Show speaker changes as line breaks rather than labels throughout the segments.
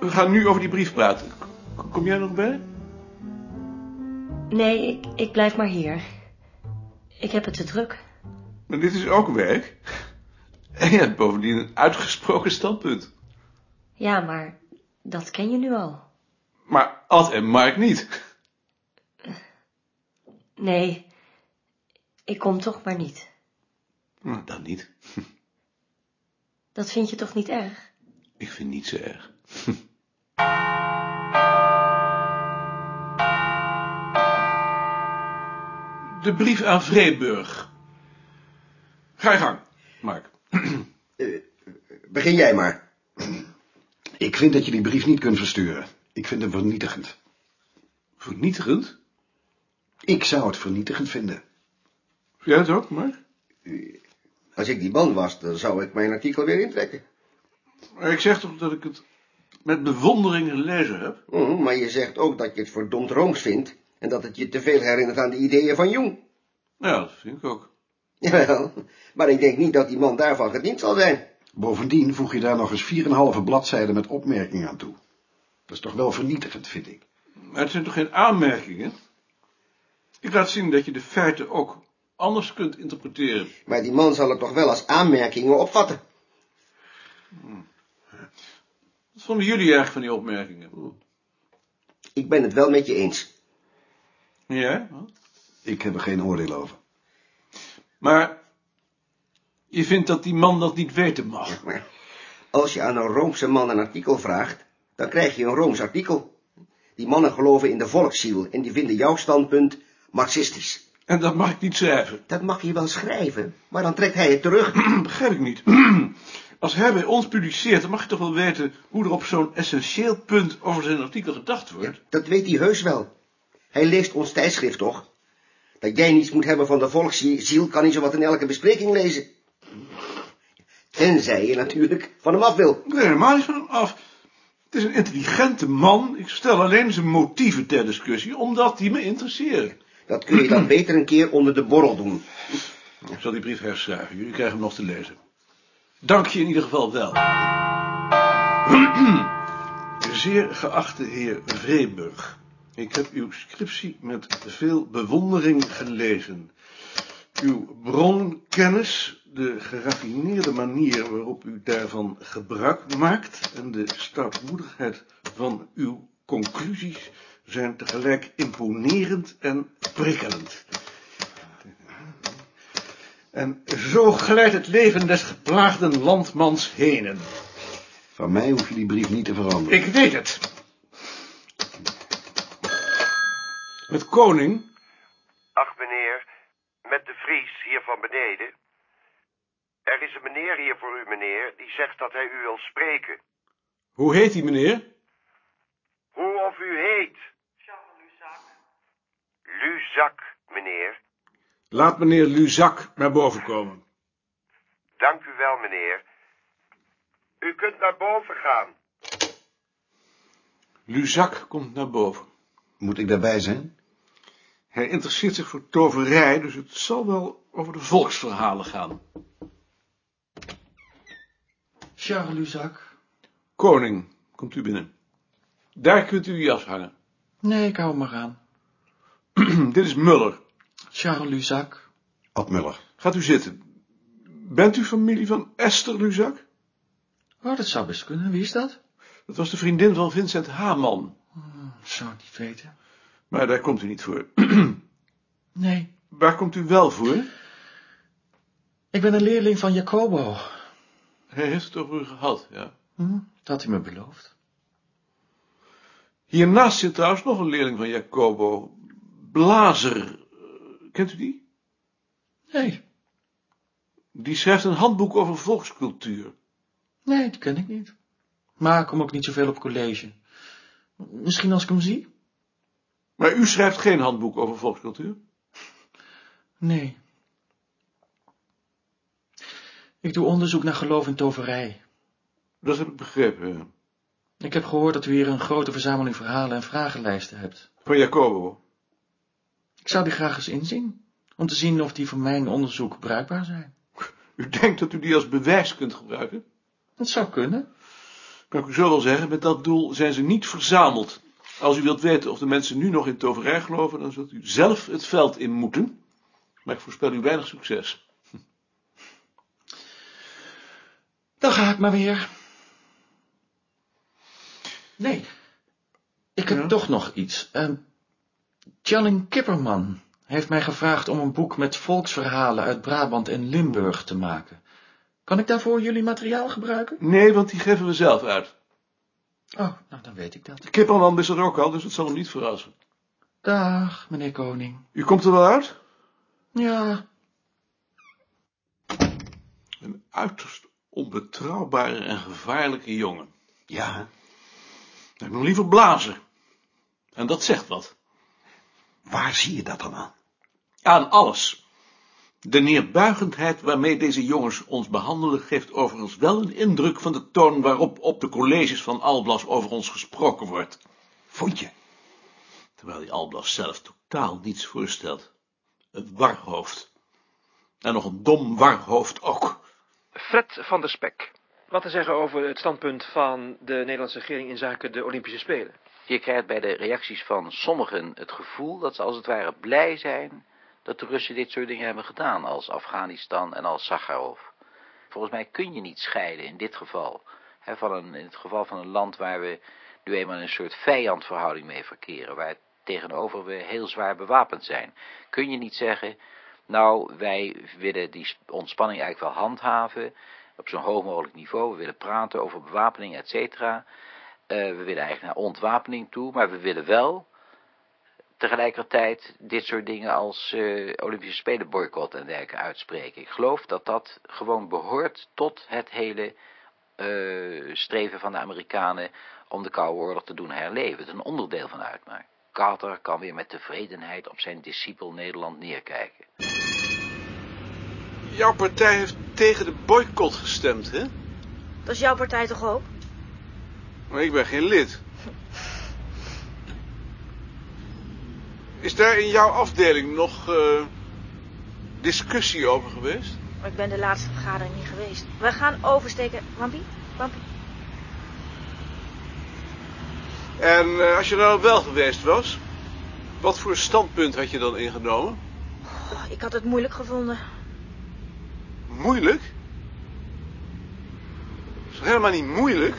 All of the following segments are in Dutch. gaan nu over die brief praten. K- Kom jij nog bij?
Nee, ik, ik blijf maar hier. Ik heb het te druk.
Maar dit is ook werk. En je hebt bovendien een uitgesproken standpunt.
Ja, maar dat ken je nu al.
Maar Ad en Mark niet.
Nee, ik kom toch maar niet.
Nou, dan niet.
Dat vind je toch niet erg?
Ik vind niet zo erg. De brief aan Vreeburg. Ga je gang, Mark.
Begin jij maar. Ik vind dat je die brief niet kunt versturen. Ik vind hem vernietigend.
Vernietigend?
Ik zou het vernietigend vinden.
Vind jij dat ook, Mark?
Als ik die man was, dan zou ik mijn artikel weer intrekken.
Maar ik zeg toch dat ik het met bewondering gelezen heb?
Oh, maar je zegt ook dat je het verdomd rooms vindt en dat het je te veel herinnert aan de ideeën van Jung.
Ja, dat vind ik ook.
Jawel, maar ik denk niet dat die man daarvan gediend zal zijn.
Bovendien voeg je daar nog eens 4,5 bladzijden met opmerkingen aan toe. Dat is toch wel vernietigend, vind ik.
Maar het zijn toch geen aanmerkingen? Ik laat zien dat je de feiten ook anders kunt interpreteren.
Maar die man zal het toch wel als aanmerkingen opvatten.
Wat vonden jullie erg van die opmerkingen?
Ik ben het wel met je eens.
Ja?
Ik heb er geen oordeel over.
Maar je vindt dat die man dat niet weten mag.
Maar als je aan een Roomse man een artikel vraagt, dan krijg je een Rooms artikel. Die mannen geloven in de volksziel en die vinden jouw standpunt marxistisch.
En dat mag ik niet schrijven.
Dat mag je wel schrijven, maar dan trekt hij het terug.
Begrijp ik niet. Als hij bij ons publiceert, dan mag je toch wel weten hoe er op zo'n essentieel punt over zijn artikel gedacht wordt.
Dat weet hij heus wel. Hij leest ons tijdschrift toch? Dat jij niets moet hebben van de volksziel kan hij zowat in elke bespreking lezen. Tenzij je natuurlijk van hem af wil.
Nee, helemaal niet van hem af. Het is een intelligente man. Ik stel alleen zijn motieven ter discussie, omdat die me interesseren.
Dat kun je dan beter een keer onder de borrel doen.
Ik zal die brief herschrijven. Jullie krijgen hem nog te lezen. Dank je in ieder geval wel. Zeer geachte heer Vreeburg. Ik heb uw scriptie met veel bewondering gelezen. Uw bronkennis, de geraffineerde manier waarop u daarvan gebruik maakt en de stoutmoedigheid van uw conclusies zijn tegelijk imponerend en prikkelend. En zo glijdt het leven des geplaagden landmans henen.
Van mij hoef je die brief niet te veranderen.
Ik weet het. Met koning?
Ach, meneer, met de Vries hier van beneden. Er is een meneer hier voor u, meneer, die zegt dat hij u wil spreken.
Hoe heet die meneer?
Hoe of u heet? Jean Luzak. Luzak, meneer.
Laat meneer Luzak naar boven komen.
Dank u wel, meneer. U kunt naar boven gaan.
Luzak komt naar boven.
Moet ik daarbij zijn?
Hij interesseert zich voor toverij, dus het zal wel over de volksverhalen gaan.
Charles Luzak.
Koning, komt u binnen. Daar kunt u uw jas hangen.
Nee, ik hou maar aan.
Dit is Muller.
Charles Luzak.
Ad Muller.
Gaat u zitten. Bent u familie van Esther Luzak?
Oh, dat zou best kunnen. Wie is dat?
Dat was de vriendin van Vincent Haman.
Zou ik niet weten.
Maar daar komt u niet voor.
Nee.
Waar komt u wel voor?
Ik ben een leerling van Jacobo.
Hij heeft het over u gehad, ja.
Hm? Dat had hij me beloofd.
Hiernaast zit trouwens nog een leerling van Jacobo. Blazer. Eh, Kent u die?
Nee.
Die schrijft een handboek over volkscultuur.
Nee, die ken ik niet. Maar ik kom ook niet zoveel op college. Misschien als ik hem zie?
Maar u schrijft geen handboek over volkscultuur?
Nee. Ik doe onderzoek naar geloof en toverij.
Dat heb ik begrepen, ja.
Ik heb gehoord dat u hier een grote verzameling verhalen en vragenlijsten hebt.
Van Jacobo.
Ik zou die graag eens inzien, om te zien of die voor mijn onderzoek bruikbaar zijn.
U denkt dat u die als bewijs kunt gebruiken?
Dat zou kunnen.
Kan ik u zo wel zeggen, met dat doel zijn ze niet verzameld. Als u wilt weten of de mensen nu nog in toverij geloven, dan zult u zelf het veld in moeten. Maar ik voorspel u weinig succes.
Dan ga ik maar weer. Nee, ik heb
Ja?
toch nog iets. Ehm Tjalling Kipperman heeft mij gevraagd om een boek met volksverhalen uit Brabant en Limburg te maken. Kan ik daarvoor jullie materiaal gebruiken?
Nee, want die geven we zelf uit.
Oh, nou dan weet ik dat.
Kipperman is dat ook al, dus het zal hem niet verrassen.
Dag, meneer Koning.
U komt er wel uit?
Ja,
Een uiterst onbetrouwbare en gevaarlijke jongen.
Ja,
Ik moet liever blazen. En dat zegt wat.
waar zie je dat dan aan?
Aan alles. De neerbuigendheid waarmee deze jongens ons behandelen geeft overigens wel een indruk van de toon waarop op de colleges van Alblas over ons gesproken wordt.
Vond je?
Terwijl die Alblas zelf totaal niets voorstelt. Een warhoofd. En nog een dom warhoofd ook.
Fred van der Spek. Wat te zeggen over het standpunt van de Nederlandse regering in zaken de Olympische Spelen?
Je krijgt bij de reacties van sommigen het gevoel dat ze als het ware blij zijn dat de Russen dit soort dingen hebben gedaan, als Afghanistan en als Sakharov. Volgens mij kun je niet scheiden in dit geval. hè, van een, in het geval van een land waar we nu eenmaal een soort vijandverhouding mee verkeren, waar tegenover we heel zwaar bewapend zijn. Kun je niet zeggen, nou, wij willen die sp- ontspanning eigenlijk wel handhaven, op zo'n hoog mogelijk niveau, we willen praten over bewapening, et cetera. Eh, we willen eigenlijk naar ontwapening toe, maar we willen wel tegelijkertijd dit soort dingen als eh, Olympische Spelen boycott en dergelijke uitspreken. Ik geloof dat dat gewoon behoort tot het hele eh, streven van de Amerikanen om de Koude Oorlog te doen herleven. Het een onderdeel van uitmaakt. Carter kan weer met tevredenheid op zijn discipel Nederland neerkijken.
Jouw partij heeft tegen de boycott gestemd, hè?
Dat is jouw partij toch ook?
Maar ik ben geen lid. Is daar in jouw afdeling nog eh, discussie over geweest?
Maar ik ben de laatste vergadering niet geweest. We gaan oversteken. Wampie? Wampie?
En eh, als je nou wel geweest was, wat voor standpunt had je dan ingenomen?
Oh, ik had het moeilijk gevonden.
Moeilijk? Dat is toch helemaal niet moeilijk?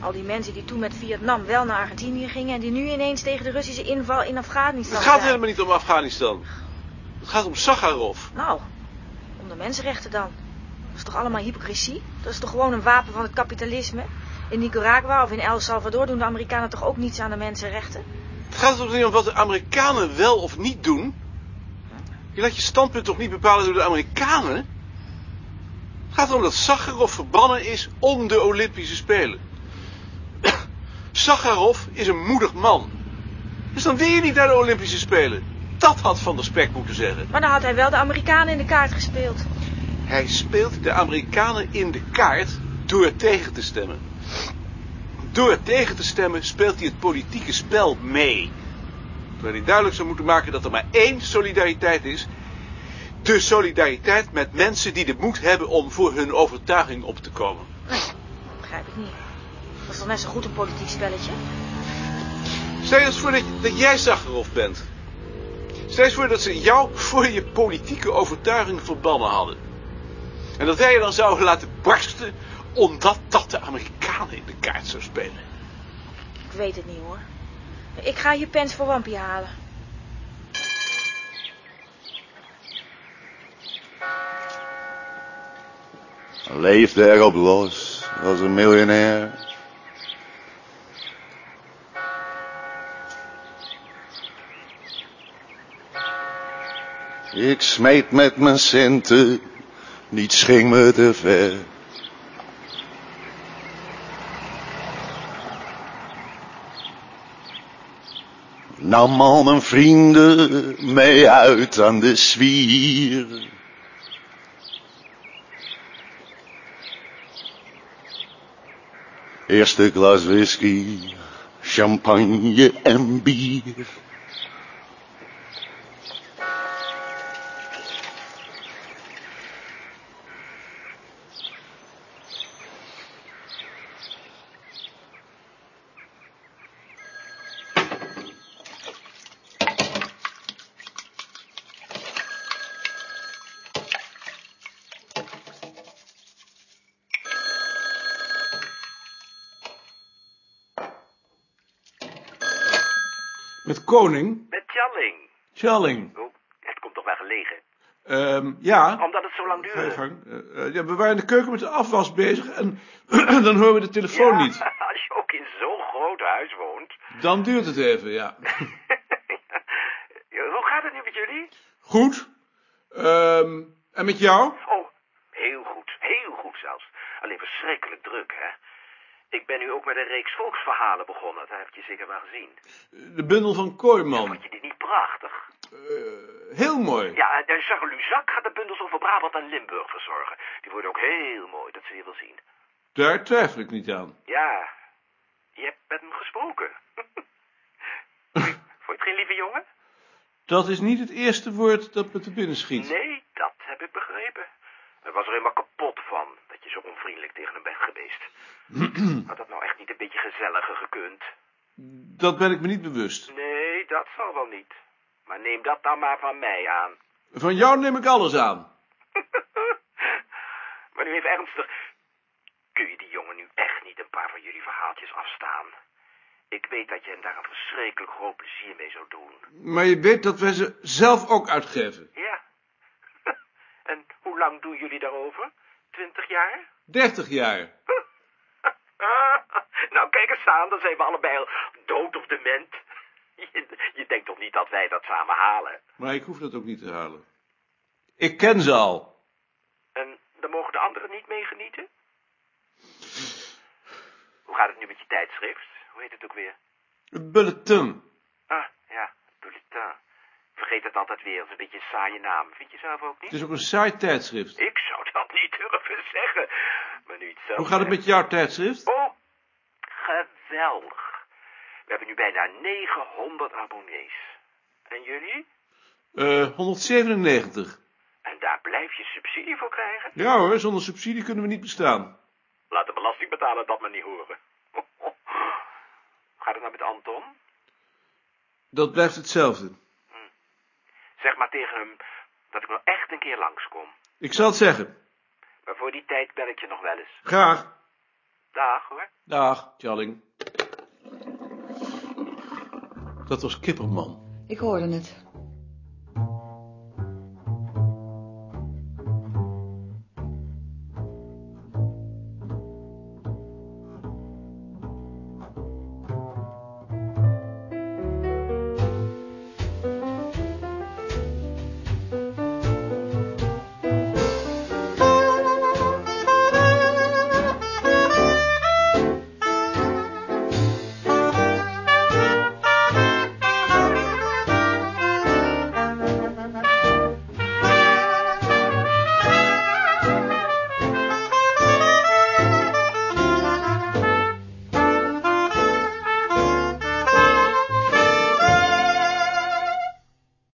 Al die mensen die toen met Vietnam wel naar Argentinië gingen... en die nu ineens tegen de Russische inval in Afghanistan
Het gaat
zijn.
helemaal niet om Afghanistan. Het gaat om Sakharov.
Nou, om de mensenrechten dan. Dat is toch allemaal hypocrisie? Dat is toch gewoon een wapen van het kapitalisme? In Nicaragua of in El Salvador doen de Amerikanen toch ook niets aan de mensenrechten?
Het gaat toch niet om wat de Amerikanen wel of niet doen? Je laat je standpunt toch niet bepalen door de Amerikanen? Het gaat erom dat Sakharov verbannen is om de Olympische Spelen. Sakharov is een moedig man. Dus dan wil je niet naar de Olympische Spelen. Dat had Van der Spek moeten zeggen.
Maar dan had hij wel de Amerikanen in de kaart gespeeld.
Hij speelt de Amerikanen in de kaart door tegen te stemmen. Door tegen te stemmen speelt hij het politieke spel mee. Terwijl hij duidelijk zou moeten maken dat er maar één solidariteit is. De solidariteit met mensen die de moed hebben om voor hun overtuiging op te komen.
Dat begrijp ik niet. Dat is toch net zo goed een politiek spelletje?
Stel je eens voor dat, dat jij Zagerof bent. Stel je eens voor dat ze jou voor je politieke overtuiging verbannen hadden. En dat wij je dan zouden laten barsten omdat dat de Amerikanen in de kaart zou spelen.
Ik weet het niet hoor. Ik ga hier pens voor Wampie halen.
Leefde erop los, was een miljonair. Ik smeet met mijn centen, niets ging me te ver. Nam al mijn vrienden mee uit aan de zwier. Eerste glas whisky, champagne en bier.
Met Koning?
Met Tjalling.
Challing.
Oh, het komt toch wel gelegen?
Ehm, ja.
Omdat het zo lang
Ga je
duurde.
gang. Eh, eh, ja, we waren in de keuken met de afwas bezig en dan horen we de telefoon
Ja,
niet.
Als je ook in zo'n groot huis woont.
Dan duurt het even, ja.
Ja, Hoe gaat het nu met jullie?
Goed. Ehm, en met jou?
Oh, heel goed. Heel goed zelfs. Alleen verschrikkelijk druk, hè? Ik ben nu ook met een reeks volksverhalen begonnen. Dat heb je zeker wel gezien.
De bundel van Kooiman.
Vind je die niet prachtig?
Heel mooi.
Ja, en Charles Luzak gaat de bundels over Brabant en Limburg verzorgen. Die worden ook heel mooi, dat zul je wel zien.
Daar twijfel ik niet aan.
Ja, je hebt met hem gesproken. Vond je het geen lieve jongen?
Dat is niet het eerste woord dat me te binnen schiet.
Nee, dat heb ik begrepen. Hij was er helemaal kapot van dat je zo onvriendelijk tegen hem bent geweest. Had dat nou echt niet een beetje gezelliger gekund?
Dat ben ik me niet bewust.
Nee, dat zal wel niet. Maar neem dat dan maar van mij aan.
Van jou neem ik alles aan.
Maar nu even ernstig. Kun je die jongen nu echt niet een paar van jullie verhaaltjes afstaan? Ik weet dat je hem daar een verschrikkelijk groot plezier mee zou doen.
Maar je weet dat wij ze zelf ook uitgeven.
Ja. en hoe lang doen jullie daarover? Twintig jaar?
30 jaar.
nou, kijk eens aan, dan zijn we allebei al dood of dement. Je, je denkt toch niet dat wij dat samen halen?
Maar ik hoef dat ook niet te halen. Ik ken ze al.
En dan mogen de anderen niet meegenieten? Hoe gaat het nu met je tijdschrift? Hoe heet het ook weer?
Het bulletin.
Ah, ja, bulletin. Ik Vergeet het altijd weer, dat is een beetje een saaie naam. Vind je zelf ook niet?
Het is ook een saai tijdschrift.
Ik zou dat niet durven zeggen. Maar nu iets zelf
Hoe gaat het
zegt.
met jouw tijdschrift?
Oh, geweldig. We hebben nu bijna 900 abonnees. En jullie?
Eh 197.
En daar blijf je subsidie voor krijgen?
Ja hoor, zonder subsidie kunnen we niet bestaan.
Laat de belastingbetaler dat maar niet horen. Hoe Gaat het nou met Anton?
Dat blijft hetzelfde.
Zeg maar tegen hem dat ik nog echt een keer langskom.
Ik zal het zeggen.
Maar voor die tijd bel ik je nog wel eens.
Graag.
Dag hoor.
Dag, Tjalling. Dat was Kipperman.
Ik hoorde het.